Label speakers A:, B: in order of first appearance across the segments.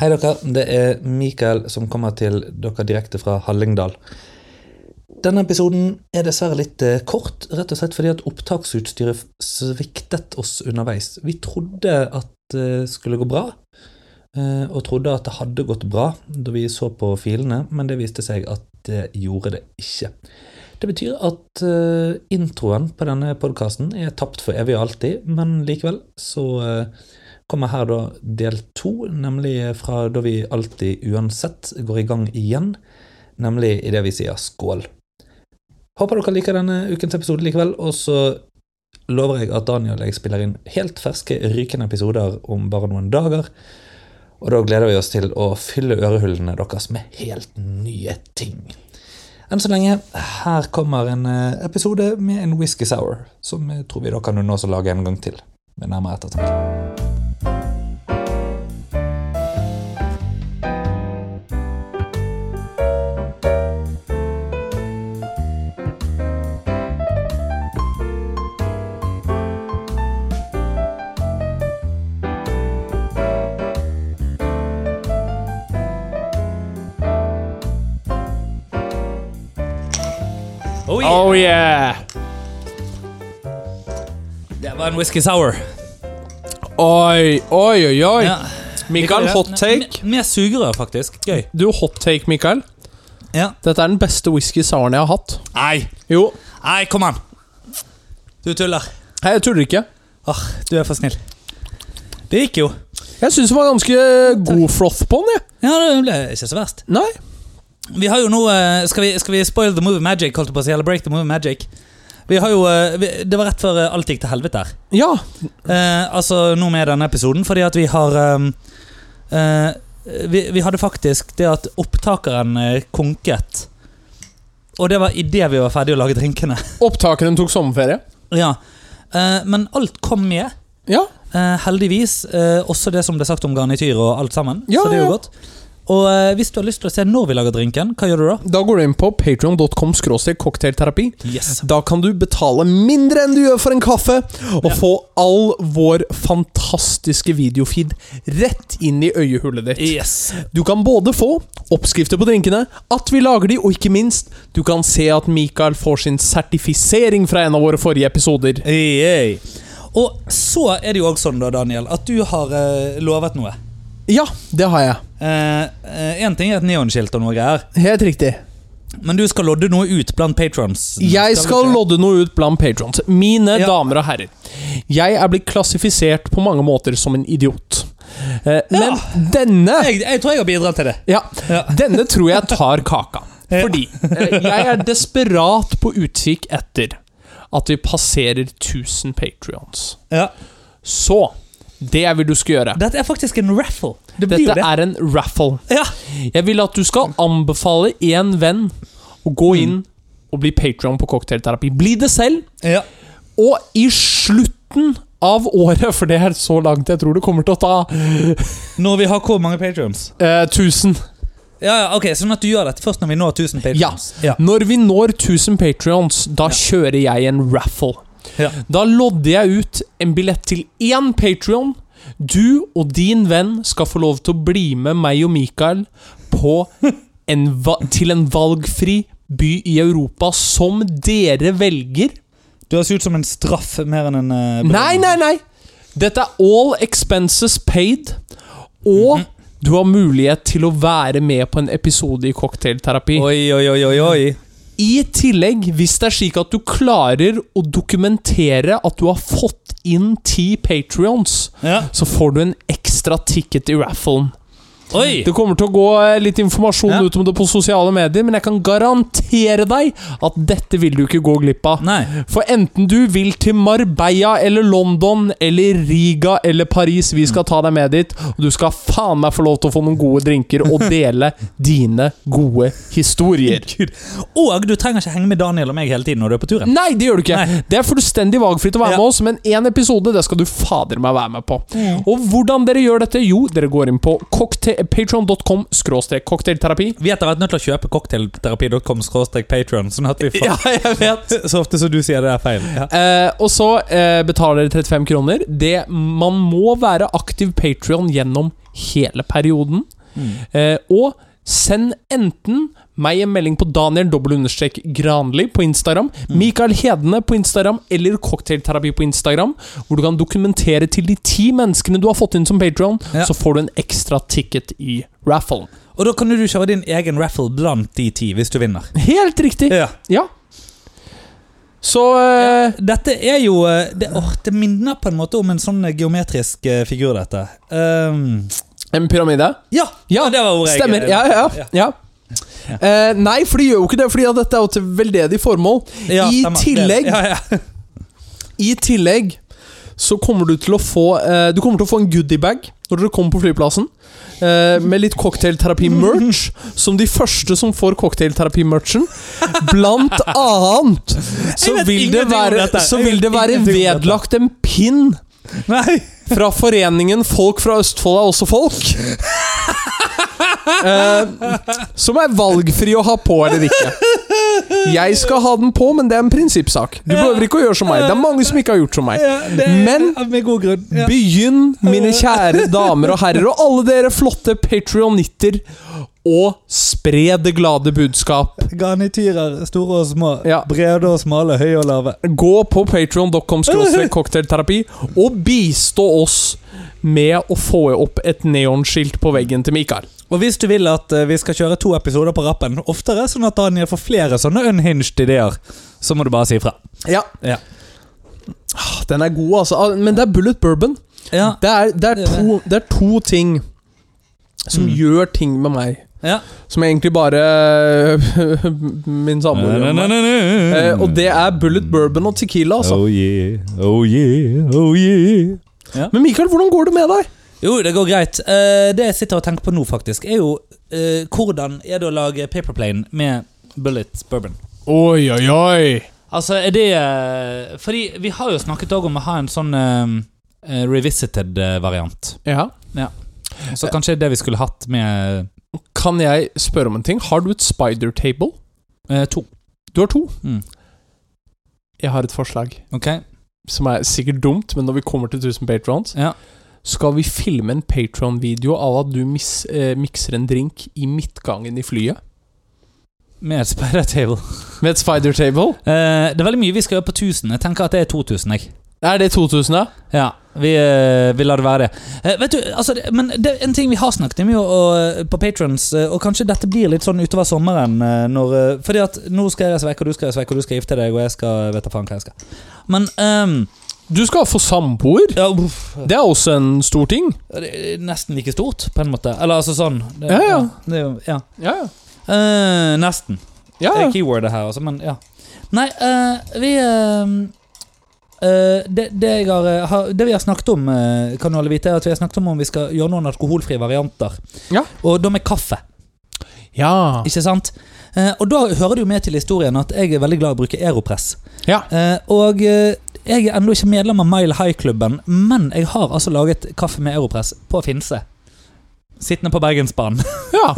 A: Hei, dere. Det er Mikael som kommer til dere direkte fra Hallingdal. Denne episoden er dessverre litt eh, kort, rett og slett fordi at opptaksutstyret f- sviktet oss underveis. Vi trodde at det skulle gå bra, eh, og trodde at det hadde gått bra da vi så på filene, men det viste seg at det gjorde det ikke. Det betyr at eh, introen på denne podkasten er tapt for evig og alltid, men likevel så eh, kommer her da del to, nemlig fra da vi alltid uansett går i gang igjen, nemlig i det vi sier skål. Håper dere liker denne ukens episode likevel, og så lover jeg at Daniel og jeg spiller inn helt ferske, rykende episoder om bare noen dager, og da gleder vi oss til å fylle ørehullene deres med helt nye ting. Enn så lenge, her kommer en eh, episode med en whisky sour, som jeg tror vi da kan unne oss å lage en gang til, med nærmere ettertanke. Oi,
B: Oh yeah!
A: det var en whisky sour.
B: Oi, oi, oi, oi.
A: Ja.
B: Mikael, hot take.
A: Med, med sugerør, faktisk. Gøy.
B: Du, hot take, Mikael.
A: Ja.
B: Dette er den beste whisky souren jeg har hatt.
A: Nei,
B: Jo,
A: nei, kom an. Du tuller.
B: Hei, jeg tuller ikke.
A: Åh, du er for snill. Det gikk jo.
B: Jeg syns det var ganske god froth på den. jeg.
A: Ja, det ble ikke så verst.
B: Nei.
A: Vi har jo nå eh, Skal vi, skal vi spoil the movie magic, holdt jeg på å si, eller break the movie magic? Vi har jo eh, vi, Det var rett før eh, alt gikk til helvete her.
B: Ja.
A: Eh, altså nå med denne episoden, fordi at vi har eh, eh, vi, vi hadde faktisk det at opptakeren eh, konket. Og det var idet vi var ferdige å lage drinkene.
B: Opptakeren tok sommerferie.
A: Ja, eh, men alt kom med.
B: Ja.
A: eh, heldigvis. eh, også det som ble sagt om garnityr og alt sammen.
B: Ja,
A: så det er jo
B: ja.
A: godt. Og eh, hvis du har lyst til å se når vi lager drinken, hva gjør du da?
B: Da går du inn på patreon.com cocktailterapi.
A: Yes.
B: Da kan du betale mindre enn du gjør for en kaffe, og få all vår fantastiske videofeed rett inn i øyehullet ditt.
A: Yes.
B: Du kan både få oppskrifter på drinkene, at vi lager de, og ikke minst, du kan se at Mikael får sin sertifisering fra en av våre forrige episoder.
A: Ei, ei. Og så er det jo òg sånn, da, Daniel, at du har eh, lovet noe.
B: Ja, det har jeg.
A: Én ting er et neonskilt og noe greier,
B: Helt riktig.
A: men du skal lodde noe ut blant patrons.
B: Jeg Mm, skal lodde noe ut blant patrons. Mine
A: Ja.
B: damer og herrer. Jeg er blitt klassifisert på mange måter som en idiot. Eh, Men denne
A: Jeg, jeg tror jeg har bidratt til det.
B: Ja,
A: Ja.
B: denne tror jeg tar kaka.
A: Ja.
B: Fordi eh, jeg er desperat på utkikk etter at vi passerer 1000 patrions.
A: Ja.
B: Så det jeg vil du skal gjøre
A: Dette er faktisk en raffle. Det blir jo
B: Dette
A: det.
B: er en raffle.
A: Ja.
B: Jeg vil at du skal anbefale én venn å gå
A: Mm.
B: inn og bli Patreon på cocktailterapi. Bli det selv.
A: Ja.
B: Og i slutten av året, for det er så langt jeg tror det kommer til å ta,
A: Når vi har hvor mange patrons?
B: eh, 1000
A: Ja, ja, ok, Sånn at du gjør dette først når vi når 1000 patrons? Ja.
B: Når vi når 1000 patrions, da kjører jeg en raffle.
A: Ja.
B: Da lodder jeg ut en billett til én patrion. Du og din venn skal få lov til å bli med meg og Mikael på en va til en valgfri by i Europa som dere velger.
A: Du høres ut som en straff mer enn en eh,
B: Nei, nei, nei! Dette er all expenses paid, og du har mulighet til å være med på en episode i cocktailterapi.
A: Oi, oi, oi, oi, oi.
B: I tillegg, hvis det er slik at du klarer å dokumentere at du har fått inn ti patrions,
A: Ja.
B: så får du en ekstra ticket i rafflen.
A: Oi!
B: Det kommer til å gå eh, litt informasjon
A: Ja.
B: ut om det på sosiale medier, men jeg kan garantere deg at dette vil du ikke gå glipp av.
A: Nei.
B: For enten du vil til Marbella eller London eller Riga eller Paris, vi skal ta deg med dit, og du skal faen meg få lov til å få noen gode drinker og dele dine gode historier.
A: Gud. Og du trenger ikke henge med Daniel og meg hele tiden når du er på turen.
B: Nei, det gjør du ikke.
A: Nei.
B: Det er fullstendig valgfritt å være
A: Ja.
B: med oss, men én episode det skal du fader meg være med på. Og hvordan dere gjør dette? Jo, dere går inn på patron.com skråstrek cocktailterapi.
A: Vi er etter hvert nødt til å kjøpe cocktailterapi.com patron, sånn at vi får
B: jeg vet.
A: Så ofte som du sier det er feil. Ja.
B: Eh, og så eh, betaler dere 35 kroner. Det, man må være aktiv Patreon gjennom hele perioden.
C: Mm.
B: Eh, og send enten meg en melding på Daniel understrek Granli på Instagram, Mikael Hedene på Instagram eller Cocktailterapi på Instagram, hvor du kan dokumentere til de ti menneskene du har fått inn som Patreon
A: Ja.
B: så får du en ekstra ticket i rafflen.
A: Og da kan du kjøre din egen raffle blant de ti, hvis du vinner.
B: Helt riktig!
A: Ja.
B: Ja. Så eh,
A: Dette er jo eh, det, åh, det minner på en måte om en sånn eh, geometrisk eh, figur, dette. Ehm,
B: En pyramide?
A: ja,
B: Ja,
A: det var ordet jeg-
B: Stemmer. Ja, ja.
A: Ja.
B: ja. Eh, nei, for de gjør jo ikke det, Fordi at dette er jo til veldedig formål.
A: Ja,
B: I
A: stemmer.
B: tillegg
A: Ja, ja.
B: I tillegg så kommer du til å få eh, Du kommer til å få en goodiebag når dere kommer på flyplassen. eh, med litt cocktailterapi-merch, som de første som får cocktailterapi-merchen. Blant annet så
A: Jeg
B: vil
A: vet
B: det
A: ingenting om
B: være,
A: dette.
B: så
A: Jeg
B: vil
A: vet
B: det være
A: ingenting om dette.
B: vedlagt en pin
A: Nei.
B: fra foreningen Folk fra Østfold er også folk. Eh, som er valgfri å ha på eller ikke. Jeg skal ha den på, men det er en prinsippsak. Du behøver ikke å gjøre som meg. Det er mange som ikke har gjort som meg.
A: Ja, det er
B: Men-
A: Med god grunn. Ja.
B: Begynn, mine kjære damer og herrer, og alle dere flotte patrionitter, å spre det glade budskap.
A: Garnityrer, store og små,
B: Ja.
A: brede og smale, høye og lave.
B: Gå på patreon.com cocktailterapi og bistå oss med å få opp et neonskilt på veggen til Mikael.
A: Og hvis du vil at eh, vi skal kjøre to episoder på rappen oftere, sånn at Daniel får flere sånne unhinged ideer, så må du bare si ifra.
B: Ja.
A: Ja.
B: Ah, Den er god, altså. Ah, Men det er bullet bourbon.
A: Ja.
B: Det er, det er,
A: Det er
B: to, det er to ting som
A: Mm.
B: gjør ting med meg.
A: Ja.
B: Som egentlig bare min samboer gjør med meg. Eh, og det er bullet bourbon og tequila, altså.
A: Oh yeah, oh yeah, oh yeah.
B: Men Mikael, hvordan går det med deg?
A: Jo, det går greit. Eh, det jeg sitter og tenker på nå, faktisk, er jo eh, hvordan er det å lage paperplane med bullet bourbon?
B: Oi, oi, oi.
A: Altså, er det eh, Fordi vi har jo snakket også om å ha en sånn eh, eh, revisited eh, variant.
B: Ja.
A: Så kanskje det vi skulle hatt med
B: Kan jeg spørre om en ting? Har du et spider table?
A: eh, to.
B: Du har to.
A: Mm.
B: Jeg har et forslag,
A: Ok?
B: som er sikkert dumt, men når vi kommer til 1000 patrons,
A: Ja.
B: skal vi filme en patron-video av at du mis, eh, mikser en drink i midtgangen i flyet.
A: Med spider table.
B: Med et spider table?
A: Eh, det er veldig mye vi skal gjøre på 1000. Jeg tenker at det er 2000. jeg.
B: Er det 2000, da?
A: Ja, vi, eh, vi lar det være. Eh, vet du, altså, det, men det er en ting vi har snakket mye om og, eh, på Patrons, og kanskje dette blir litt sånn utover sommeren eh, når, eh, Fordi at nå skal jeg reise vekk, og du skal reise vekk, og du skal gifte deg, og jeg skal vet da faen hva jeg skal. Men ehm,
B: Du skal få samboer.
A: ja, uff,
B: Det er også en stor ting.
A: det er nesten like stort, på en måte. Eller altså sånn. Det,
B: Ja, ja.
A: Det, er jo- ja.
B: Ja,
A: Eh, nesten.
B: ja.
A: Det er keywordet her, altså, men ja. Nei, eh, vi eh, eh, det, det, jeg har, eh, har, det vi har snakket om, eh, kan jo alle vite, er at vi har snakket om om vi skal gjøre noen alkoholfrie varianter.
B: Ja.
A: Og da med kaffe,
B: ja.
A: ikke sant? Eh, og da hører det jo med til historien at jeg er veldig glad i å bruke Aeropress.
B: Ja.
A: Eh, og eh, jeg er ennå ikke medlem av Mile High-klubben, men jeg har altså laget kaffe med Aeropress på Finse. Sittende på Bergensbanen.
B: ja.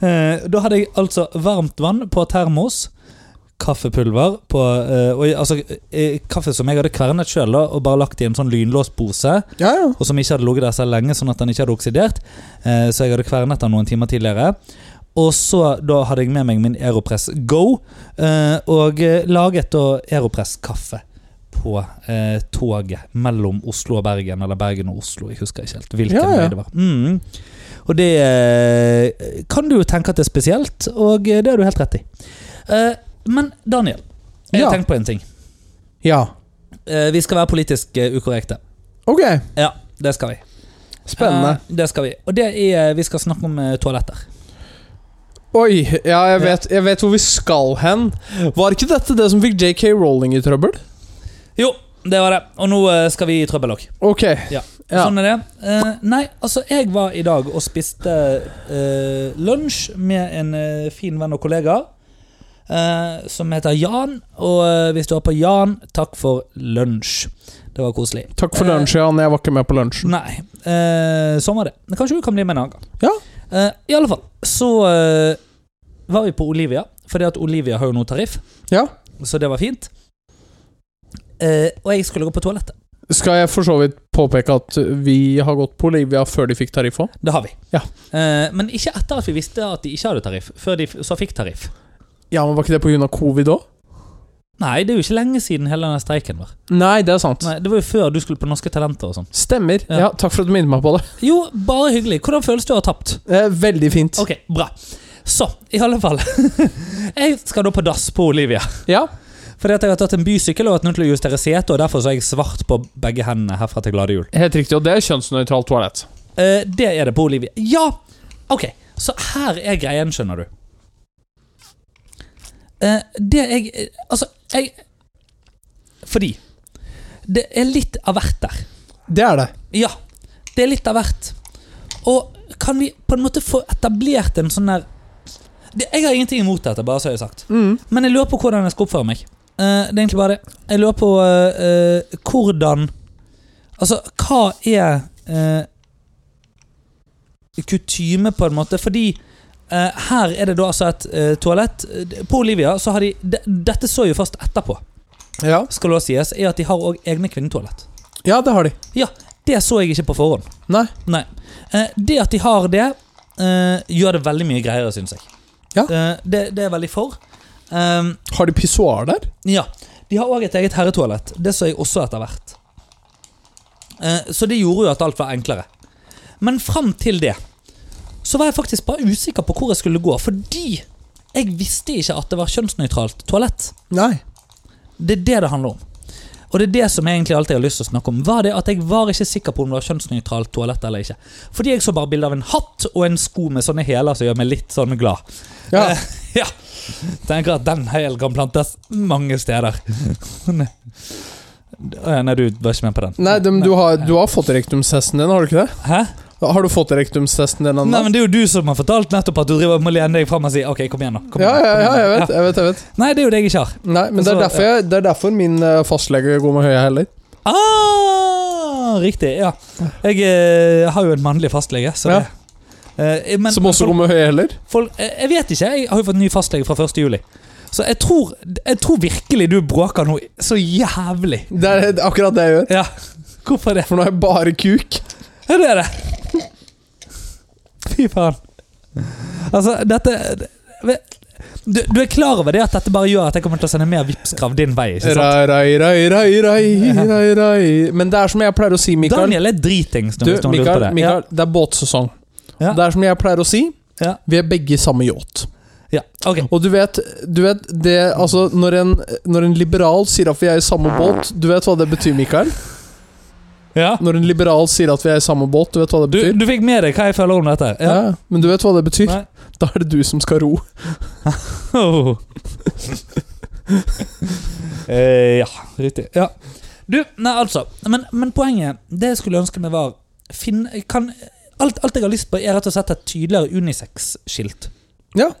A: Eh, Da hadde jeg altså varmt vann på termos. Kaffepulver på eh, og, jeg- Altså eh, kaffe som jeg hadde kvernet sjøl og bare lagt i en sånn lynlåst pose.
B: ja, ja.
A: Og som ikke hadde ligget der så lenge, sånn at den ikke hadde oksidert. Eh, Så jeg hadde kvernet den noen timer tidligere. Og så da hadde jeg med meg min Aeropress Go, eh, og eh, laget da Aeropress-kaffe på eh, toget mellom Oslo og Bergen, eller Bergen og Oslo, jeg husker ikke helt hvilken
B: Ja, ja.
A: vei det var. Mm. Og det eh, kan du jo tenke at det er spesielt, og eh, det har du helt rett i. Eh, Men Daniel, jeg har
B: Ja.
A: tenkt på en ting.
B: ja.
A: Eh, Vi skal være politisk eh, ukorrekte.
B: Ok.
A: Ja, det skal vi.
B: Spennende.
A: Eh, det skal vi. Og det er, vi skal snakke om eh, toaletter.
B: Eh, Oi, ja, jeg vet, jeg vet hvor vi skal hen. Var ikke dette det som fikk JK Rowling i trøbbel?
A: Jo, det var det. Og nå eh, skal vi i trøbbel òg.
B: Ok.
A: Ja.
B: Ja.
A: Sånn er det. Eh, nei, altså, jeg var i dag og spiste eh, lunsj med en eh, fin venn og kollega. eh, som heter Jan. Og eh, hvis du er på Jan, takk for lunsj. Det var koselig.
B: Takk for lunsj, Jan. Jeg var ikke med på lunsjen.
A: Nei. Eh, sånn var det. Men Kanskje du kan bli med en annen gang.
B: Ja.
A: Eh, I alle fall, så eh, var vi på Olivia, fordi at Olivia har jo noe tariff.
B: Ja.
A: Så det var fint. Eh, og jeg skulle gå på toalettet.
B: Skal jeg for så vidt påpeke at vi har gått Bolivia før de fikk tariff òg?
A: Det har vi.
B: Ja.
A: Eh, men ikke etter at vi visste at de ikke hadde tariff, før de f- så fikk tariff.
B: Ja, men var ikke det pga. covid òg?
A: Nei, det er jo ikke lenge siden hele denne streiken var.
B: Nei, det er sant.
A: Nei, Det var jo før du skulle på Norske Talenter og sånn.
B: Stemmer.
A: Ja.
B: Ja. Takk for at du minnet meg på det.
A: Jo, bare hyggelig. Hvordan føles det å ha tapt?
B: Eh, veldig fint.
A: Ok, bra. Så, i alle fall. jeg skal da på dass på Olivia.
B: Ja.
A: Fordi at jeg har tatt en bysykkel og vært nødt til å justere setet, og derfor så er jeg svart på begge hendene herfra til glade jul.
B: Helt riktig, og det er kjønnsnøytralt toalett.
A: Eh, det er det på Olivia. Ja! Ok, så her er greien, skjønner du. Eh, det jeg eh, Altså, jeg Fordi det er litt av hvert der.
B: Det er det.
A: Ja, det er litt av hvert. Og kan vi på en måte få etablert en sånn der det, Jeg har ingenting imot dette, bare så jeg har sagt.
B: Mm.
A: Men jeg lurer på hvordan jeg skal oppføre meg. Eh, det er egentlig bare det. Jeg lurer på eh, eh, hvordan Altså, hva er eh, kutyme, på en måte? Fordi eh, her er det da altså et eh, toalett. Eh, På Olivia så har de de, Dette så jo først etterpå,
B: Ja.
A: skal det også sies, er at de har òg egne kvinnetoalett.
B: ja, det har de.
A: Det så jeg ikke på forhånd.
B: Nei.
A: Nei. Eh, det at de har det, eh, gjør det veldig mye greiere, syns jeg.
B: Ja.
A: Eh, det, det er jeg veldig for. Um,
B: Har de pissoar der?
A: ja. De har òg et eget herretoalett. Det så jeg også etter hvert. Eh, så det gjorde jo at alt var enklere. Men fram til det så var jeg faktisk bare usikker på hvor jeg skulle gå, fordi jeg visste ikke at det var kjønnsnøytralt toalett.
B: Nei.
A: Det er det det handler om. Og det er det som jeg egentlig alltid har lyst til å snakke om. Var det at Jeg var ikke sikker på om det var kjønnsnøytralt toalett eller ikke. Fordi jeg så bare bilde av en hatt og en sko med sånne hæler som gjør meg litt sånn glad.
B: Ja.
A: Eh, ja. Tenker at den hælen kan plantes mange steder. Nei. Å ja, Nei, du var ikke med på den.
B: Nei, men du har, du har fått rektumstesten din, har du ikke det?
A: Hæ?
B: Har du fått rektumstesten din
A: Nei,
B: ennå?
A: men Det er jo du som har fortalt nettopp at du driver må lene deg fram og si OK, kom igjen nå. Kom
B: Ja,
A: igjen,
B: ja,
A: kom
B: ja,
A: igjen
B: jeg
A: nå.
B: vet, jeg vet. jeg vet
A: Ja. Nei, det er jo det jeg ikke har.
B: Nei, men det er
A: Altså,
B: derfor, jeg, det er derfor min eh, fastlege går med høye hæler.
A: Ah, riktig. Ja. Jeg eh, har jo en mannlig fastlege, så
B: Ja.
A: det Eh, men,
B: Som også
A: folk,
B: går med høye hæler.
A: folk, eh, Jeg vet ikke. Jeg har jo fått ny fastlege fra 1. juli. Så jeg tror, jeg tror virkelig du bråker noe så jævlig.
B: Det er det- akkurat det jeg gjør.
A: Ja, Hvorfor det?
B: For nå har jeg bare kuk.
A: Ja, det er det. Fy faen. Altså, dette du, du er klar over det at dette bare gjør at jeg kommer til å sende mer Vipps-krav din vei? ikke sant?
B: Rai, rai, rai, rai, rai, rai, rai. Men det er som jeg pleier å si, Mikael.
A: Daniel er dritings. nå,
B: Du,
A: hvis noen lurer på
B: Mikael,
A: det.
B: Mikael det er båtsesong.
A: Ja.
B: Det er som jeg pleier å si,
A: Ja.
B: vi er begge i samme yacht.
A: Ja, ja. ok.
B: Og du vet, du vet det Altså, når en, når en liberal sier at vi er i samme båt Du vet hva det betyr, Mikael?
A: Ja.
B: Når en liberal sier at vi er i samme båt, du vet hva det
A: Du,
B: betyr?
A: du fikk med deg hva jeg føler om dette?
B: ja. Men du vet hva det betyr?
A: Nei.
B: Da er det du som skal ro.
A: Oh. eh, ja, riktig. Ja. Du, nei, altså. Men, men poenget, det jeg skulle ønske meg, var finne, kan, alt, alt jeg har lyst på, er rett og slett et tydeligere unisex-skilt.
B: Ja.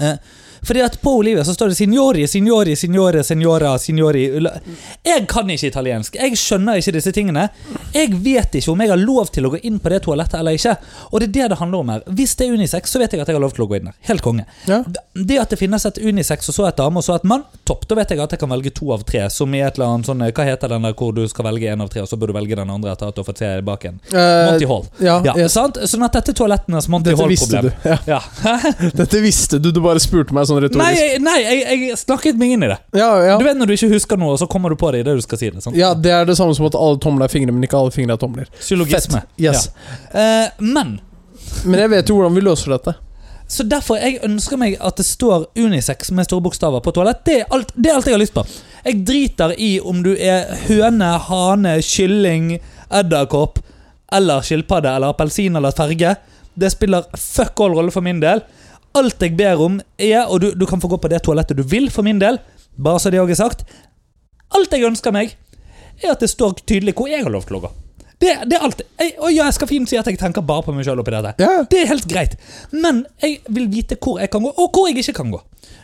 A: Eh, fordi at på Olivia så står det 'signori', 'signori', 'signore', 'signora', 'signori' ula- Jeg kan ikke italiensk. Jeg skjønner ikke disse tingene. Jeg vet ikke om jeg har lov til å gå inn på det toalettet eller ikke. Og det er det det handler om her. Hvis det er unisex, så vet jeg at jeg har lov til å gå inn der. Helt konge.
B: Ja.
A: Det at det finnes et unisex og så et dame og så et mann, topp. Da vet jeg at jeg kan velge to av tre. Som i et eller annet sånn Hva heter den der hvor du skal velge en av tre, og så bør du velge den andre etter at du har fått se bak en?
B: Eh,
A: Monty Hall.
B: ja,
A: Ja,
B: jeg-
A: sant? Sånn at dette er toalettenes Monty
B: Dette visste du.
A: Hall-problem.
B: Ja.
A: Ja.
B: Dette visste du, du bare spurte meg sånn
A: Nei,
B: retorisk.
A: jeg, nei jeg, jeg snakket meg inn i det.
B: ja, ja.
A: Du vet når du ikke husker noe, og så kommer du på det i det du skal si det. sant?
B: ja, Det er det samme som at alle tomler er fingre, men ikke alle fingre er tomler.
A: Syllogisme.
B: Fett. Yes.
A: Ja. Eh, men
B: Men jeg vet jo hvordan vi løser dette.
A: Så derfor jeg ønsker meg at det står unisex med store bokstaver på toalett. Det er alt, det er alt jeg har lyst på. Jeg driter i om du er høne, hane, kylling, edderkopp eller skilpadde eller appelsin eller ferge. Det spiller fuck all rolle for min del. Alt jeg ber om er, og du, du kan få gå på det toalettet du vil for min del, bare så det òg er sagt Alt jeg ønsker meg, er at det står tydelig hvor jeg har lov til å gå. Det, det er alt. Jeg, og ja, jeg skal fint si at jeg tenker bare på meg sjøl oppi dette.
B: Ja.
A: Det er helt greit. Men jeg vil vite hvor jeg kan gå, og hvor jeg ikke kan gå.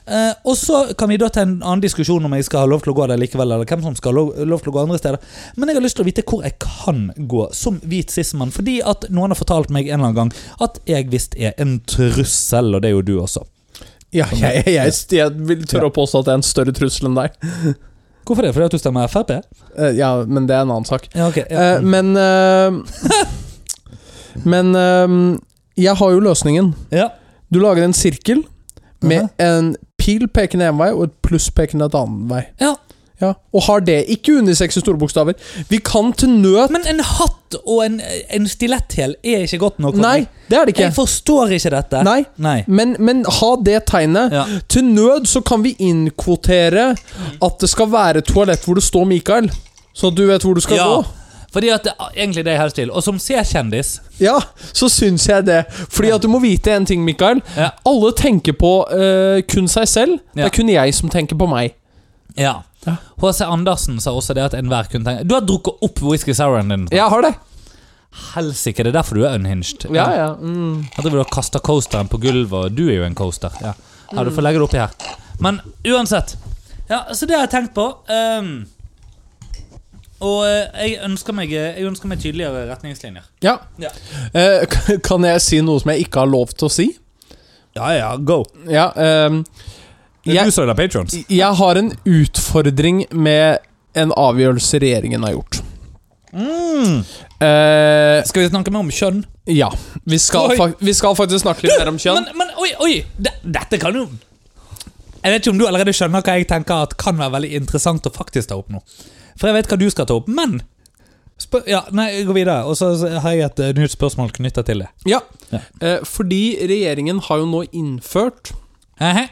A: Eh, og så kan vi da ta en annen diskusjon om jeg skal ha lov til å gå der likevel, eller hvem som skal ha lov, lov til å gå andre steder. Men jeg har lyst til å vite hvor jeg kan gå som hvit sismann, fordi at noen har fortalt meg en eller annen gang at jeg visst er en trussel, og det er jo du også.
B: Sånn Ja, jeg, jeg, jeg, jeg vil tørre å påstå at det er en større trussel enn deg.
A: Hvorfor det? Fordi at du stemmer Frp?
B: Eh, ja, men det er en annen sak.
A: Ja, ok. Ja.
B: Eh, men eh, Men eh, jeg har jo løsningen.
A: Ja.
B: Du lager en sirkel med
A: Aha.
B: en pil pekende en vei og et pluss pekende et annen vei.
A: Ja.
B: Ja, Og har det ikke unisex i store bokstaver. Vi kan til nød
A: Men en hatt og en, en stiletthæl er ikke godt nok. for
B: Nei,
A: meg.
B: det er det ikke.
A: Jeg forstår ikke dette.
B: Nei,
A: Nei.
B: men, men ha det tegnet.
A: Ja.
B: Til nød så kan vi innkvotere at det skal være et toalett hvor det står Mikael. Så du vet hvor du skal
A: Ja.
B: gå.
A: Fordi at det er egentlig det jeg helst vil. Og som C-kjendis
B: Ja, så syns jeg det. Fordi at du må vite en ting, Mikael.
A: Ja.
B: Alle tenker på eh, kun seg selv.
A: Ja.
B: Det er kun jeg som tenker på meg.
A: Ja.
B: Ja.
A: H.C. Andersen sa også det at enhver kunne tenke Du har drukket opp whisky souren din.
B: Jeg har det.
A: Helsike, det er derfor du er unhinged.
B: Ja, ja. Mm.
A: Jeg driver og kaster coasteren på gulvet, og du er jo en coaster. Ja, ja Du får legge det oppi her. Men uansett. Ja, så det har jeg tenkt på. ehm, og eh, jeg ønsker, meg, jeg ønsker meg tydeligere retningslinjer.
B: ja.
A: Ja.
B: Eh, k- kan jeg si noe som jeg ikke har lov til å si?
A: Ja, ja, go.
B: Ja. ehm, jeg,
A: som er patrons.
B: jeg har en utfordring med en avgjørelse regjeringen har gjort. Eh,
A: Skal vi snakke mer om kjønn?
B: ja. Vi skal,
A: Oi.
B: fak vi skal faktisk snakke litt mer om kjønn.
A: Men, men oi, oi! De, dette kan jo Jeg vet ikke om du allerede skjønner hva jeg tenker at kan være veldig interessant å faktisk ta opp nå. For jeg vet hva du skal ta opp, men spør, ja, Nei, jeg går videre, og så så har jeg et eh, nytt spørsmål knytta til det.
B: Ja.
A: Ja.
B: Eh, fordi regjeringen har jo nå innført
A: Ehe.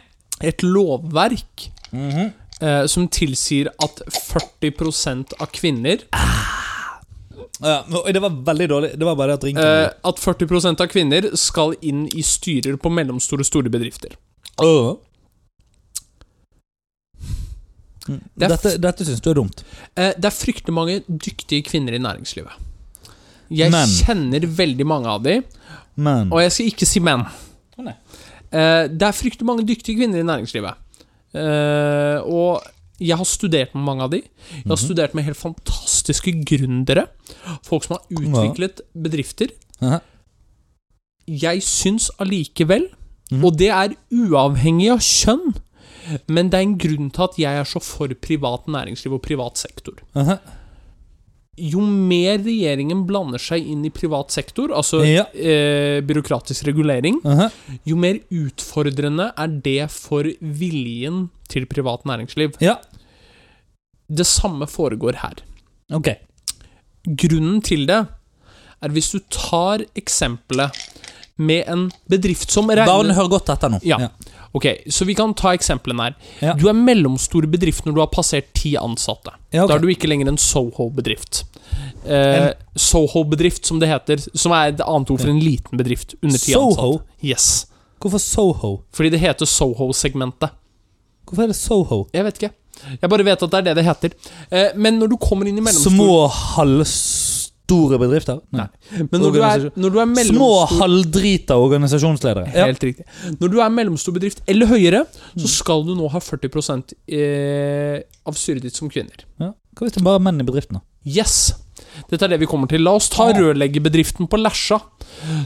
B: et lovverk
A: Mhm.
B: eh, som tilsier at 40 av kvinner
A: Ja, og det var veldig dårlig. Det var bare at ringte
B: eh, At 40 av kvinner skal inn i styrer på mellomstore og store bedrifter. det er f-
A: Mm. Dette, dette syns du er dumt.
B: Eh, det er fryktelig mange dyktige kvinner i næringslivet. Jeg
A: Men.
B: kjenner veldig mange av de,
A: Men
B: og jeg skal ikke si men.
A: Å, nei.
B: Eh, det er fryktelig mange dyktige kvinner i næringslivet. Eh, og jeg har studert med mange av de. Jeg
A: Mhm.
B: har studert med helt fantastiske gründere. Folk som har utviklet bedrifter.
A: Aha.
B: Jeg syns allikevel,
A: Mhm.
B: og det er uavhengig av kjønn, men det er en grunn til at jeg er så for privat næringsliv og privat sektor.
A: Aha.
B: Jo mer regjeringen blander seg inn i privat sektor, altså
A: Ja.
B: eh, byråkratisk regulering,
A: Aha.
B: jo mer utfordrende er det for viljen til privat næringsliv.
A: Ja,
B: Det samme foregår her.
A: ok.
B: Grunnen til det er hvis du tar eksempelet med en bedrift som
A: Barn
B: regner
A: hører godt etter nå.
B: Ja. Ok, Så vi kan ta eksemplene her.
A: Ja.
B: Du er mellomstor bedrift når du har passert ti ansatte.
A: Ja, ok.
B: Da er du ikke lenger en Soho-bedrift. Eh, Soho-bedrift, som det heter, som er et annet ord for en liten bedrift under ti
A: Soho?
B: ansatte. Yes.
A: Hvorfor Soho?
B: Fordi det heter Soho-segmentet.
A: Hvorfor er det Soho?
B: Jeg vet ikke. Jeg bare vet at det er det det heter. Eh, men når du kommer inn i mellomstor
A: Små, halvstore bedrifter? Nei.
B: Men når du er,
A: organisasjon-
B: når du er
A: Små,
B: mellomstor
A: halvdrita organisasjonsledere. Ja. Mm.
B: Helt riktig. Når du er mellomstor bedrift eller høyere, så skal du nå ha 40 eh, av styret ditt som kvinner.
A: Ja. Hva hvis det bare er menn i bedriften? da?
B: Yes! Dette er det vi kommer til. La oss ta rørleggerbedriften på Lesja,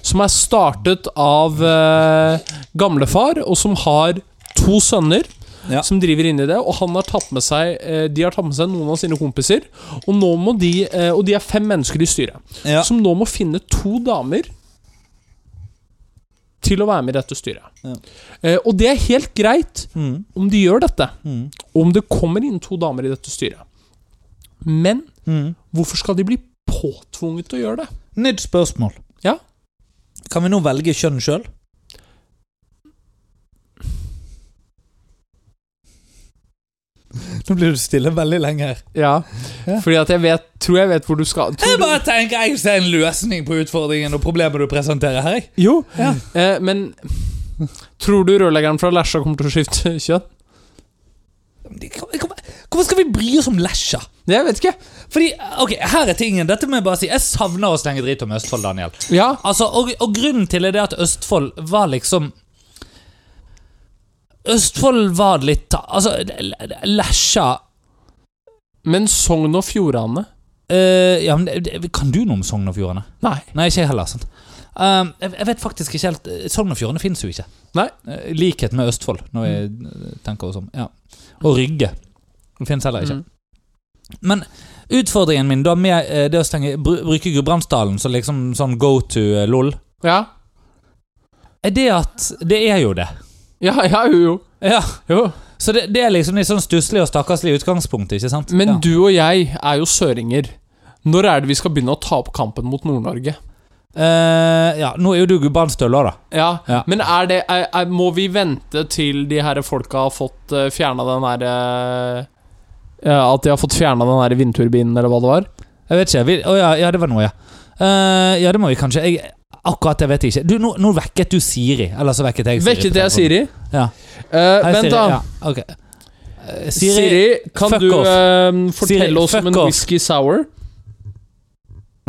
B: som er startet av eh, gamlefar, og som har to sønner.
A: Ja.
B: Som driver inn i det, og han har tatt med seg eh, De har tatt med seg noen av sine kompiser. Og nå må de eh, Og de er fem mennesker i styret.
A: Ja.
B: Som nå må finne to damer til å være med i dette styret.
A: Ja.
B: Eh, og det er helt greit
A: Mm.
B: om de gjør dette.
A: Mm.
B: Om det kommer inn to damer i dette styret. Men
A: Mm.
B: Hvorfor skal de bli påtvunget til å gjøre det?
A: Nytt spørsmål.
B: Ja.
A: Kan vi nå velge kjønn sjøl? Nå blir du stille veldig lenge her.
B: Ja,
A: Ja.
B: fordi at jeg vet, tror jeg vet hvor du skal tror
A: Jeg
B: du,
A: bare tenker jeg ser en løsning på utfordringen og problemet du presenterer her. jeg.
B: Jo,
A: Ja.
B: eh, men Tror du rørleggeren fra Lesja kommer til å skifte kjønn?
A: Hvorfor skal vi bry oss om lesja?
B: Jeg vet ikke.
A: Fordi, ok, her er tingen, dette må Jeg bare si Jeg savner å slenge drit om Østfold, Daniel.
B: Ja,
A: Altså, og, og grunnen til det er at Østfold var liksom Østfold var litt ta- Altså, l- l- lesja
B: men Sogn og Fjordane
A: Eh, ja, men det, det, Kan du noe om Sogn og Fjordane?
B: Nei.
A: Nei, ikke jeg heller. sant Ehm, jeg, jeg vet faktisk ikke helt eh, Sogn og Fjordane fins jo ikke.
B: Nei. Mm.
A: Eh, sånn, likhet med Østfold, når vi eh, tenker oss om. Ja. Og Rygge. Den fins heller ikke.
B: Mm.
A: Men utfordringen min da med eh, det å stenge, bru- bruke Gudbrandsdalen som liksom sånn go to eh, LOL,
B: Ja,
A: er det at Det er jo det.
B: ja, ja jo, jo.
A: Ja,
B: jo.
A: Så det, det er liksom litt sånn stusslig og stakkarslig utgangspunkt, ikke sant?
B: Men
A: ja.
B: du og jeg er jo søringer. Når er det vi skal begynne å ta opp kampen mot Nord-Norge?
A: Eh, ja, nå er jo du Gudbrandsdøl òg, da.
B: Ja,
A: Ja.
B: Men er det, er, er, må vi vente til de her folka har fått uh, fjerna den derre At de har fått fjerna den her vindturbinen, eller hva det var?
A: Jeg vet ikke. Vi, å ja, ja, det var noe, ja. Eh, ja, det må vi kanskje. Jeg, akkurat det vet jeg ikke. Du, nå, nå vekket du Siri. Eller så vekket jeg Siri.
B: Vekket jeg Siri?
A: Ja.
B: Eh,
A: Hei,
B: vent,
A: Siri.
B: da.
A: Ja, ok. Eh,
B: Siri,
A: Siri.
B: kan
A: fuck
B: du
A: off.
B: eh, fortelle
A: Siri,
B: oss
A: fuck
B: om en
A: off.
B: whisky sour?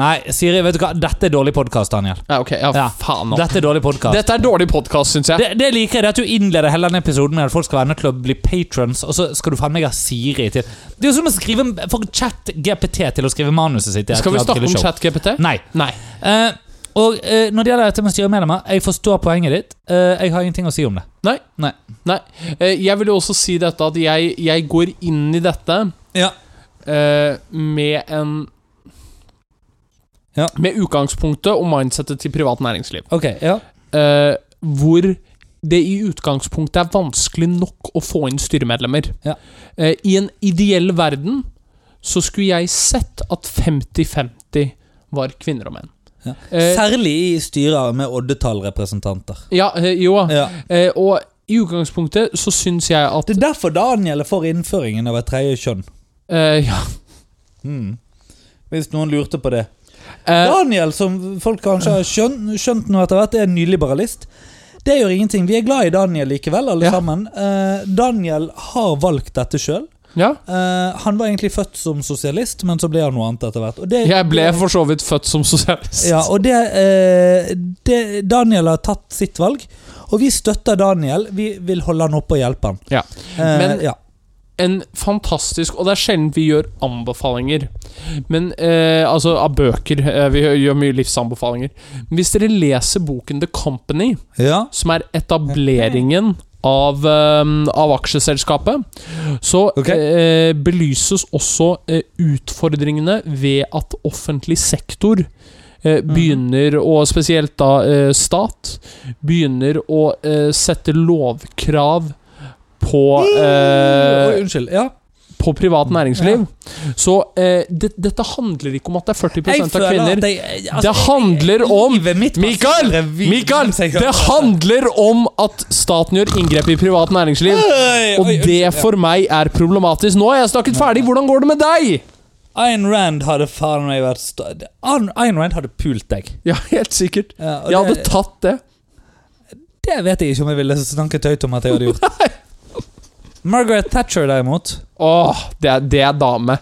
A: Nei, Siri, vet du hva? Dette er dårlig podkast, Daniel.
B: Ja, ok. Ja,
A: Ja.
B: faen òg.
A: Dette er dårlig podcast
B: Dette er dårlig podkast, syns jeg.
A: Det, det liker jeg, det at du innleder hele denne episoden med at folk skal være nødt til å bli patrons, og så skal du faen meg ha Siri til Det er jo som å skrive for chat-GPT til å skrive manuset sitt. i et
B: Skal vi
A: eller
B: snakke
A: annet
B: om
A: killeshow.
B: ChatGPT?
A: Nei.
B: Nei.
A: Eh, og eh, når det gjelder dette med styremedlemmer, jeg forstår poenget ditt. Eh, jeg har ingenting å si om det.
B: Nei.
A: Nei.
B: Eh, jeg vil jo også si dette at jeg, jeg går inn i dette
A: Ja.
B: eh, med en
A: Ja.
B: Med utgangspunktet og mindsettet til privat næringsliv.
A: Ok, ja.
B: eh, hvor det i utgangspunktet er vanskelig nok å få inn styremedlemmer.
A: Ja.
B: Eh, I en ideell verden så skulle jeg sett at 50-50 var kvinner og menn.
A: Ja.
B: Eh,
A: Særlig i styrer med oddetallrepresentanter.
B: ja, eh, jo.
A: Ja.
B: Eh, og i utgangspunktet så syns jeg at
A: Det er derfor Daniel er for innføringen av et tredje kjønn.
B: eh, ja,
A: Hmm. Hvis noen lurte på det.
B: eh,
A: Daniel, som folk kanskje har skjønt, skjønt nå etter hvert, er en nyliberalist. Det gjør ingenting. Vi er glad i Daniel likevel, alle
B: Ja.
A: sammen. Eh, Daniel har valgt dette sjøl.
B: ja.
A: han var egentlig født som sosialist, men så ble han noe annet etter hvert. Og det,
B: Jeg ble for så vidt født som sosialist.
A: ja, og det, eh, det Daniel har tatt sitt valg, og vi støtter Daniel. Vi vil holde han oppe og hjelpe han.
B: Ja.
A: Eh,
B: Men-
A: ja.
B: en fantastisk Og det er sjelden vi gjør anbefalinger. Men eh, Altså, av bøker. Eh, vi gjør- gjør mye livsanbefalinger. Men hvis dere leser boken The Company,
A: ja.
B: som er etableringen av, eh, av aksjeselskapet, så
A: Ok.
B: eh, belyses også eh, utfordringene ved at offentlig sektor
A: Mhm.
B: eh, Begynner, og spesielt da eh, stat, begynner å eh, sette lovkrav på eh,
A: Oi, unnskyld. Ja.
B: på privat næringsliv. Så eh, det, dette handler ikke om at det er 40 av kvinner.
A: jeg, altså,
B: Det handler om-
A: livet mitt
B: Mikael!
A: passerer vid-
B: Mikael! Det handler om at staten gjør inngrep i privat næringsliv.
A: Oi,
B: Og
A: oi,
B: det
A: unnskyld, ja.
B: for meg er problematisk. Nå har jeg snakket ferdig. Hvordan går det med deg?
A: Ayn Rand hadde faen meg vært sta- Ayn Ayn Rand hadde pult deg.
B: Ja, helt sikkert.
A: Ja, og
B: Jeg hadde
A: det,
B: tatt det.
A: det vet jeg ikke om jeg ville snakket høyt om at jeg hadde gjort. Margaret Thatcher, derimot
B: Åh, det er, det er dame.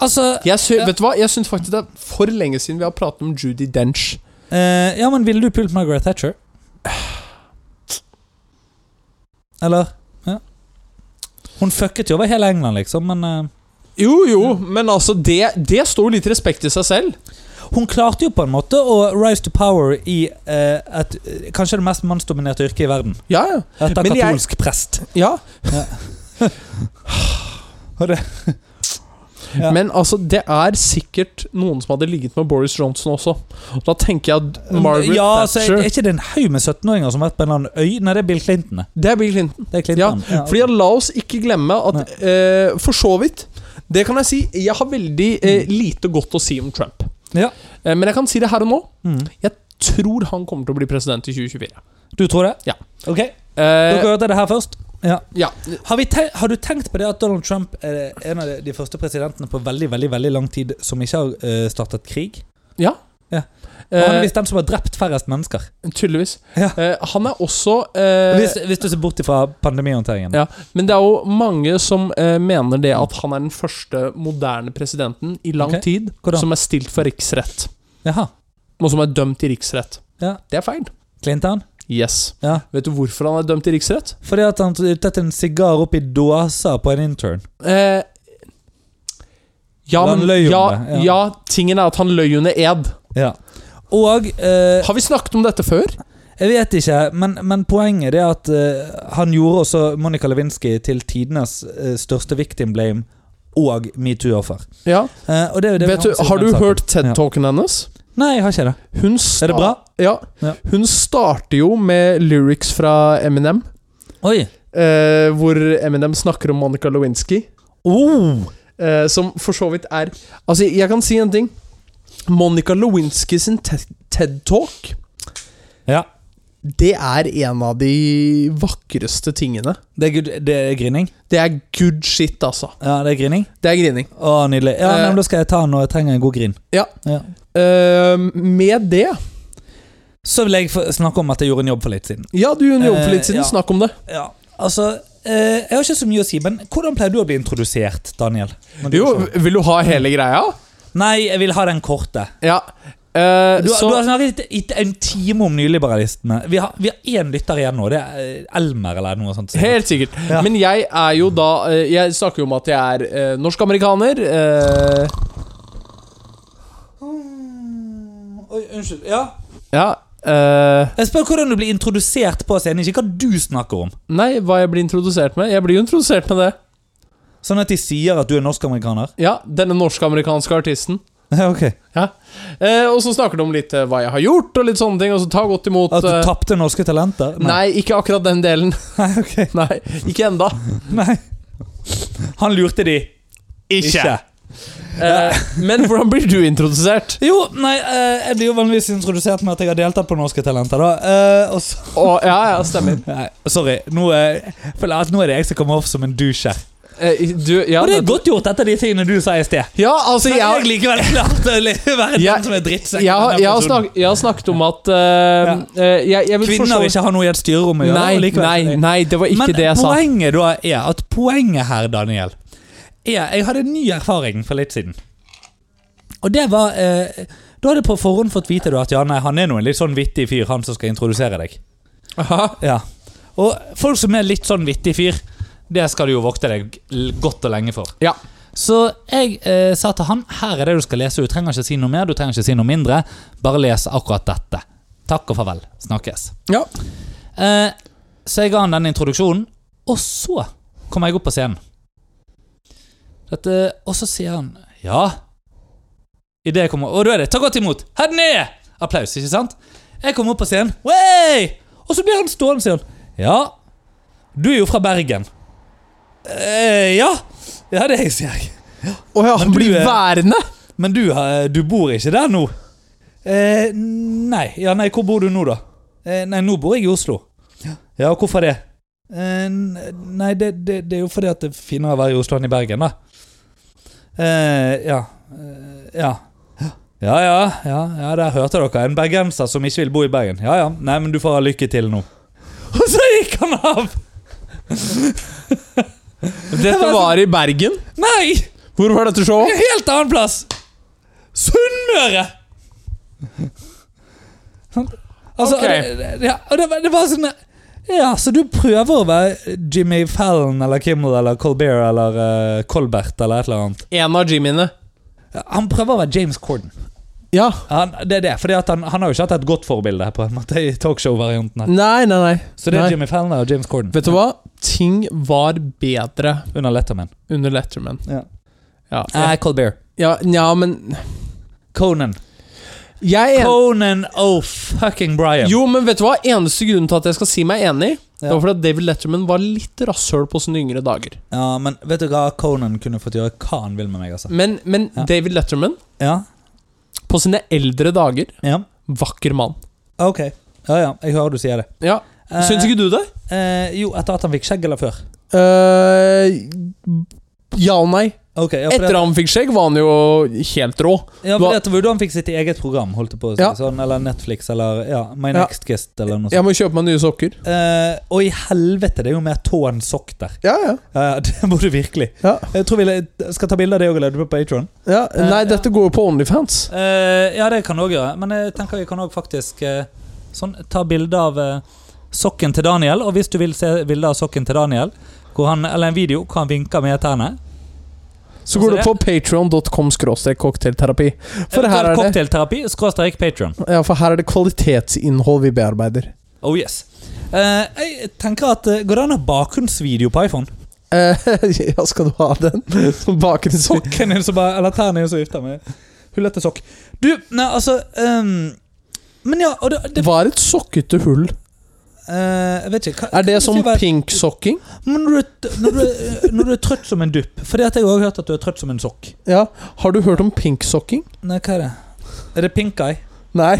A: Altså
B: Jeg sy
A: Ja.
B: Vet du hva? Jeg syns faktisk det er for lenge siden vi har pratet om Judy Dench.
A: eh, Ja, men ville du pult Margaret Thatcher? Eller Ja. Hun fucket jo over hele England, liksom, men eh,
B: Jo, jo, men altså, det, det står jo litt respekt i seg selv.
A: Hun klarte jo på en måte å rise to power i eh, et, kanskje det mest mannsdominerte yrket i verden.
B: Ja, ja.
A: Etter
B: Men jeg-
A: katolsk prest.
B: ja.
A: Og det- Ja.
B: Men altså, det er sikkert noen som hadde ligget med Boris Johnson også. Og da tenker jeg at Margaret
A: ja, altså,
B: Thatcher
A: Er ikke det en haug med 17-åringer som har vært på en eller annen øy? Nei, det er Bill Clinton. det.
B: Det er Bill Clinton.
A: Det er Clinton. Ja,
B: Fordi at, La oss ikke glemme at eh, For så vidt, det kan jeg si, jeg har veldig eh,
A: Mm.
B: lite godt å si om Trump.
A: Ja.
B: Eh, men jeg kan si det her og nå.
A: Mm.
B: Jeg tror han kommer til å bli president i 2024.
A: Du tror det?
B: Ja.
A: Ok,
B: Eh,
A: Dere hørte det her først? Ja.
B: ja.
A: Har, vi te- har du tenkt på det at Donald Trump er en av de- de første presidentene på veldig veldig, veldig lang tid som ikke har eh, startet krig?
B: ja.
A: Ja. Og han er
B: Eh,
A: visst den som har drept færrest mennesker.
B: tydeligvis.
A: Ja.
B: Eh, han er også eh,
A: Hvis, hvis du ser bort fra pandemihåndteringen.
B: Ja, Men det er jo mange som eh, mener det at han er den første moderne presidenten i lang
A: Ok.
B: tid
A: Hvordan?
B: som er stilt for riksrett.
A: Jaha.
B: Og som er dømt i riksrett.
A: Ja.
B: Det er feil.
A: Clinton?
B: Yes.
A: Ja.
B: Vet du hvorfor han er dømt i riksrett?
A: Fordi at han tatt en sigar opp i dåsa på en intern.
B: Eh, ja,
A: Han
B: men
A: løy om
B: ja,
A: det,
B: ja.
A: ja.
B: tingen er at han løy under ed.
A: Ja. Og eh,
B: Har vi snakket om dette før?
A: Jeg vet ikke, men, men poenget er at eh, han gjorde også Monica Lewinsky til tidenes eh, største victim blame og metoo-offer.
B: Ja.
A: Eh, og det er jo det vi
B: Vet du,
A: med
B: har du
A: siden den
B: hørt
A: saken.
B: TED-talken hennes?
A: Ja. Nei, jeg har ikke det.
B: Hun sta-
A: Er det bra?
B: Ja.
A: Ja.
B: Hun starter jo med lyrics fra Eminem,
A: Oi!
B: eh, hvor Eminem snakker om Monica Lewinsky.
A: Oh.
B: Eh, som for så vidt er Altså, jeg kan si en ting. Monica Lewinsky sin te- TED-talk,
A: Ja.
B: det er en av de vakreste tingene.
A: Det er, good, det er grining?
B: Det er good shit, altså.
A: Ja, det er grining.
B: Det er grining.
A: Å, nydelig. Ja,
B: Eh.
A: nei, men Da skal jeg ta den når jeg trenger en god grin.
B: Ja. Eh, med det
A: Så vil jeg få snakke om at jeg gjorde en jobb for litt siden.
B: Ja, du gjorde en jobb for litt
A: Eh,
B: siden.
A: ja.
B: Snakk om det.
A: Ja, altså eh, Jeg har ikke så mye å si, men hvordan pleier du å bli introdusert, Daniel? Når du
B: Jo,
A: er sånn?
B: vil du ha hele greia?
A: Nei, jeg vil ha den korte.
B: Ja. Eh,
A: Du, har-
B: så
A: du har snakket i en time om nyliberalistene. Vi har, vi har én lytter igjen nå. Det er eh, Elmer eller noe sånt.
B: Helt sikkert.
A: Ja.
B: Men jeg er jo da eh, Jeg snakker jo om at jeg er eh, norsk-amerikaner. eh,
A: Oi, unnskyld. Ja.
B: ja. eh,
A: Jeg spør hvordan du blir introdusert på scenen, ikke hva du snakker om.
B: Nei, hva jeg blir introdusert med? Jeg blir jo introdusert med det.
A: Sånn at de sier at du er norsk-amerikaner.
B: Ja, denne norsk-amerikanske artisten.
A: Ja, ok.
B: Ja. Eh, og så snakker de om litt eh, hva jeg har gjort, og litt sånne ting. Og så ta godt imot
A: At du
B: eh,
A: tapte norske talenter?
B: Nei, ikke akkurat den delen.
A: Nei, ok.
B: Nei, ikke enda.
A: Nei. Han lurte de.
B: Eh, men hvordan blir du introdusert?
A: Jo, nei, eh, jeg blir jo vanligvis introdusert med at jeg har deltatt på Norske Talenter, da. Eh, og så,
B: Å, ja, ja, stemmer.
A: nei, sorry. Nå, eh, føler jeg at nå er det jeg som kommer off som en douche her.
B: Eh, du, ja,
A: Og det er
B: det-
A: godt gjort etter de tingene du sa i sted.
B: Ja, altså,
A: Men jeg har
B: jeg,
A: likevel klart å le- være
B: Jeg-
A: den som er drittsekk. i
B: jeg, har-
A: denne
B: jeg, har
A: episoden.
B: snakk, jeg har snakket om at eh, eh, jeg, jeg vil
A: Kvinner ikke har noe i et styrerom å gjøre. og
B: Nei,
A: likevel-
B: nei, nei, det var ikke
A: Men
B: det jeg sa.
A: poenget da er at poenget her, Daniel er, Jeg hadde en ny erfaring for litt siden. Og det var eh, Da hadde jeg på forhånd fått vite da, at ja, nei, han er nå en litt sånn vittig fyr, han som skal introdusere deg.
B: Aha.
A: Ja. Og folk som er litt sånn vittig fyr, det skal du jo vokte deg l- godt og lenge for.
B: Ja.
A: Så jeg eh, sa til han her er det du skal lese, du trenger ikke si noe mer, du trenger ikke si noe mindre. Bare les akkurat dette. Takk og farvel. Snakkes.
B: Ja.
A: Eh, så jeg ga han den introduksjonen, og så kom jeg opp på scenen. Dette, og så sier han ja. I det jeg kommer, og da er det ta godt imot. Her den er! Applaus, ikke sant? Jeg kommer opp på scenen, Wey! og så blir han stående og sier han, ja, du er jo fra Bergen. Eh, ja. ja, det er jeg, sier jeg.
B: Å ja, han
A: du eh,
B: blir
A: er-
B: værende!
A: Men du, har- du bor ikke der nå? Eh, nei. Ja, nei, hvor bor du nå, da? Eh, nei, nå bor jeg i Oslo. Ja, og hvorfor det? Eh, n- nei, det, det, det er jo fordi at det er finere å være i Oslo enn i Bergen, da. Eh, ja. Eh, ja. Ja, ja, ja, ja, der hørte dere. En bergenser som ikke vil bo i Bergen. Ja, ja. Nei, men du får ha lykke til nå. Og så gikk han av!
B: Dette var i Bergen.
A: Nei!
B: Hvor var dette showet?
A: En helt annen plass! Sunnmøre! Sant? Altså,
B: Ok.
A: og det, det- ja, og det, var- det var sånn Ja, så du prøver å være Jimmy Fallon eller Kimmel eller Colbert eller eh, Colbert eller et eller annet.
B: En av Jimmyene.
A: Han prøver å være James Corden.
B: Ja.
A: Han, det er det, fordi at han, han har jo ikke hatt et godt forbilde på en måte i talkshow-varianten. her
B: Nei, nei, nei.
A: Så det er
B: Nei.
A: Jimmy Fallon og James Corden
B: Vet du hva? Ting var bedre
A: under Letterman.
B: under Letterman.
A: Ja.
B: Ja,
A: Nei, Colbert.
B: ja, nja, men
A: Conan.
B: Jeg er en...
A: Conan oh fucking Brian.
B: Jo, men vet du hva? Eneste grunnen til at jeg skal si meg enig, Det
A: Ja.
B: var fordi at David Letterman var litt rasshøl på sine yngre dager.
A: Ja, men vet du hva? Conan kunne fått gjøre hva han vil med meg, altså.
B: Men, men
A: Ja.
B: David Letterman,
A: Ja,
B: på sine eldre dager,
A: ja.
B: vakker mann.
A: Ok. Ja, ja. Jeg hører du sier det.
B: Ja,
A: Eh,
B: Syns ikke du det?
A: eh, jo, etter at han fikk skjegg eller før?
B: Eh, ja og nei.
A: Ok, ja, for
B: Etter
A: det,
B: han fikk skjegg, var han jo helt rå.
A: ja, for det, at det var jo da han fikk sitt eget program, holdt jeg på å si.
B: Ja.
A: Sånn, eller Netflix, eller ja, My
B: Ja.
A: Next Guest, eller noe sånt.
B: Jeg må kjøpe meg nye sokker.
A: Eh, og i helvete, det er jo mer tå enn sokk der.
B: Ja, ja.
A: Ja, ja, det må du virkelig.
B: Ja.
A: Jeg tror vi le- skal ta bilde av det òg og legge det på Patron.
B: Ja,
A: Eh,
B: nei,
A: ja.
B: dette går jo på Onlyfans.
A: Eh, ja, det kan du òg gjøre. Men jeg tenker vi kan òg faktisk eh, sånn, ta bilde av eh, sokken til Daniel. Og hvis du vil se bilde av sokken til Daniel, hvor han, eller en video hvor han vinker med tærne
B: Så går
A: Så
B: du
A: det-
B: på patreon.com cocktailterapi. For her er
A: Eventuelt
B: det
A: cocktailterapi, skråstrek Patron.
B: ja, for her er det kvalitetsinnhold vi bearbeider.
A: Oh yes. Eh, jeg tenker at eh, Går det an å ha bakgrunnsvideo på iPhone?
B: Eh, ja, skal du ha den som bakgrunnssokk?
A: Sokken din som bare Eller tærne din som vifter med hullete sokk. Du, nei, altså ehm, Men ja, og det, det
B: Var et sokkete hull.
A: eh, Jeg vet ikke hva,
B: Er det
A: hva
B: som
A: skal være-
B: pinksokking?
A: Men når du, er- når, du, er- når du er trøtt som en dupp Fordi at jeg har også hørt at du er trøtt som en sokk.
B: Ja. Har du hørt om pinksokking?
A: Nei, hva er det? Er det pink eye?
B: Nei.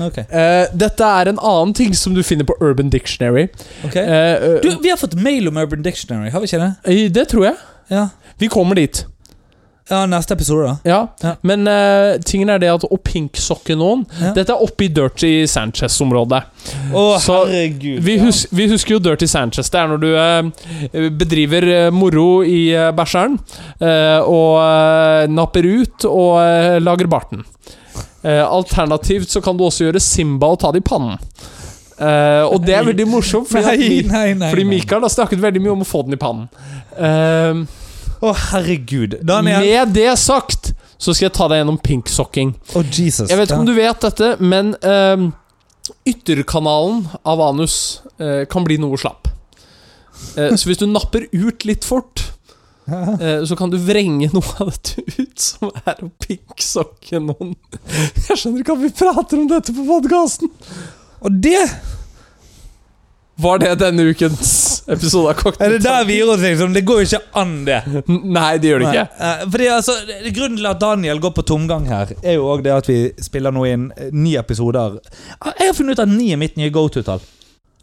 A: Ok.
B: Eh, dette er en annen ting som du finner på Urban Dictionary.
A: ok.
B: Eh, eh,
A: Du, vi har fått mail om Urban Dictionary, har vi ikke det?
B: eh, det tror jeg.
A: Ja,
B: Vi kommer dit.
A: ja neste episode, da.
B: Ja.
A: Ja.
B: Men eh, tingen er det at å pinksokke noen
A: Ja.
B: Dette er oppe i Dirty Sanchez-området.
A: Å,
B: Så-
A: herregud.
B: Vi, hus vi husker jo Dirty Sanchez. Det er når du eh, bedriver eh, moro i eh, bæsjeren eh, og eh, napper ut og eh, lager barten. Eh, alternativt så kan du også gjøre Simba og ta det i pannen. Eh, og det er veldig morsomt, fordi, at
A: Nei,
B: Mi-
A: nei, nei.
B: fordi
A: nei.
B: Mikael har snakket veldig mye om å få den i pannen. Eh,
A: Å, herregud. Daniel.
B: med det sagt så skal jeg ta deg gjennom pinksokking.
A: Å, Jesus.
B: Jeg vet ikke om
A: Ja.
B: du vet dette, men ehm, ytterkanalen av anus eh, kan bli noe slapp. Eh, så hvis du napper ut litt fort, eh, så kan du vrenge noe av dette ut, som er å pinksokke noen. Jeg skjønner ikke at vi prater om dette på podkasten!
A: Og det
B: Var det denne ukens episode av
A: er
B: Cocktail?
A: det der vi gir oss, liksom. Det går jo ikke an, det.
B: Nei, det gjør det ikke.
A: Nei, eh, Fordi altså, det- Grunnen til at Daniel går på tomgang her, er jo òg det at vi spiller nå inn eh, ni episoder. Ah, Jeg har funnet ut at ni er mitt nye go to-tall.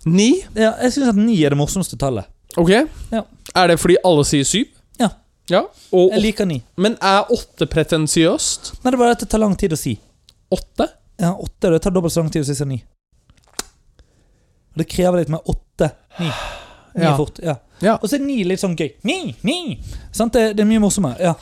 B: Ni?
A: Ja, jeg syns at ni er det morsomste tallet.
B: Ok.
A: Ja.
B: Er det fordi alle sier syv?
A: Ja.
B: ja. Og,
A: Jeg liker ni.
B: åt- men er åtte pretensiøst?
A: Nei, det er bare at det tar lang tid å si.
B: Åtte?
A: Ja, åtte, Det tar dobbelt så lang tid å si som ni. Og Det krever litt med åtte. Ni. Ni
B: Ja.
A: er fort. ja.
B: Ja.
A: Og så er ni litt sånn gøy. Ni, ni. Sant? Det, det er mye morsommere. ja.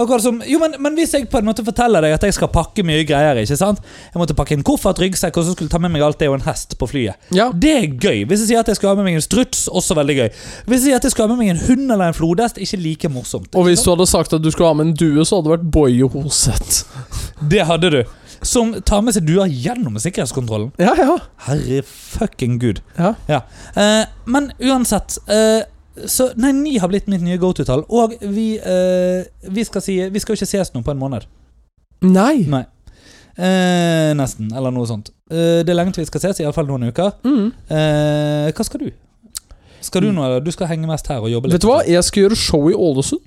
A: Akkurat som, jo, men, men hvis jeg på en måte forteller deg at jeg skal pakke mye greier ikke sant? Jeg måtte pakke en koffert, ryggsekk og så skulle jeg ta med meg alt det og en hest på flyet.
B: Ja.
A: Det er gøy. Hvis jeg sier at jeg skal ha med meg en struts, også veldig gøy. Hvis jeg sier at jeg skal ha med meg en hund eller en flodhest, ikke like morsomt.
B: Og hvis du hadde sagt at du skulle ha med en due, så hadde det vært Boje Hoseth.
A: Det hadde du. Som tar med seg duer gjennom sikkerhetskontrollen.
B: Ja, ja.
A: Herre fucking gud.
B: Ja.
A: Eh, men uansett eh, Så Nei, ni har blitt mitt nye go to-tall. Og vi, eh, vi skal si Vi skal jo ikke ses nå på en måned.
B: Nei.
A: Nei. Eh, nesten, eller noe sånt. Eh, det er lenge til vi skal ses, iallfall noen uker.
B: Mm.
A: Eh, hva skal du? Skal du nå, eller? Du skal henge mest her og jobbe litt?
B: Vet du hva? Jeg skal gjøre show i Ålesund.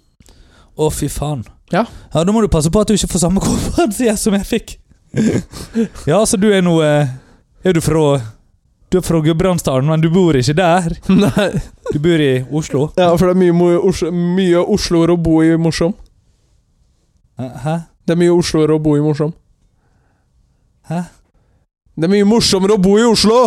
A: Å, fy faen.
B: Ja.
A: Da må du passe på at du ikke får samme konferanse som jeg fikk. ja, så du er nå eh, Er du fra Du er fra Gudbrandsdalen, men du bor ikke der?
B: Nei.
A: Du bor i Oslo?
B: Ja, for det er mye, mo- Os- mye Osloer å bo i morsom.
A: Hæ?
B: Det er mye Osloer å bo i morsom.
A: Hæ?
B: Det er mye morsommere å bo i Oslo!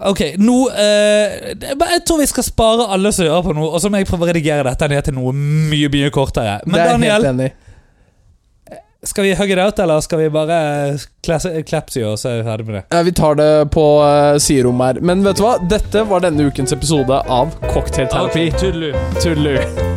A: Ok, nå eh, det- Jeg tror vi skal spare alle som hører på nå, og så må jeg prøve å redigere dette ned til noe mye mye kortere. Men
B: det er jeg
A: Daniel,
B: helt enig. i.
A: skal vi hugge det out, eller skal vi bare klepse i og så er vi ferdig med det?
B: Ja, vi tar det på uh, siderommet her. Men vet du hva? Dette var denne ukens episode av Cocktailterapi.
A: Tudelu.
B: Tudelu.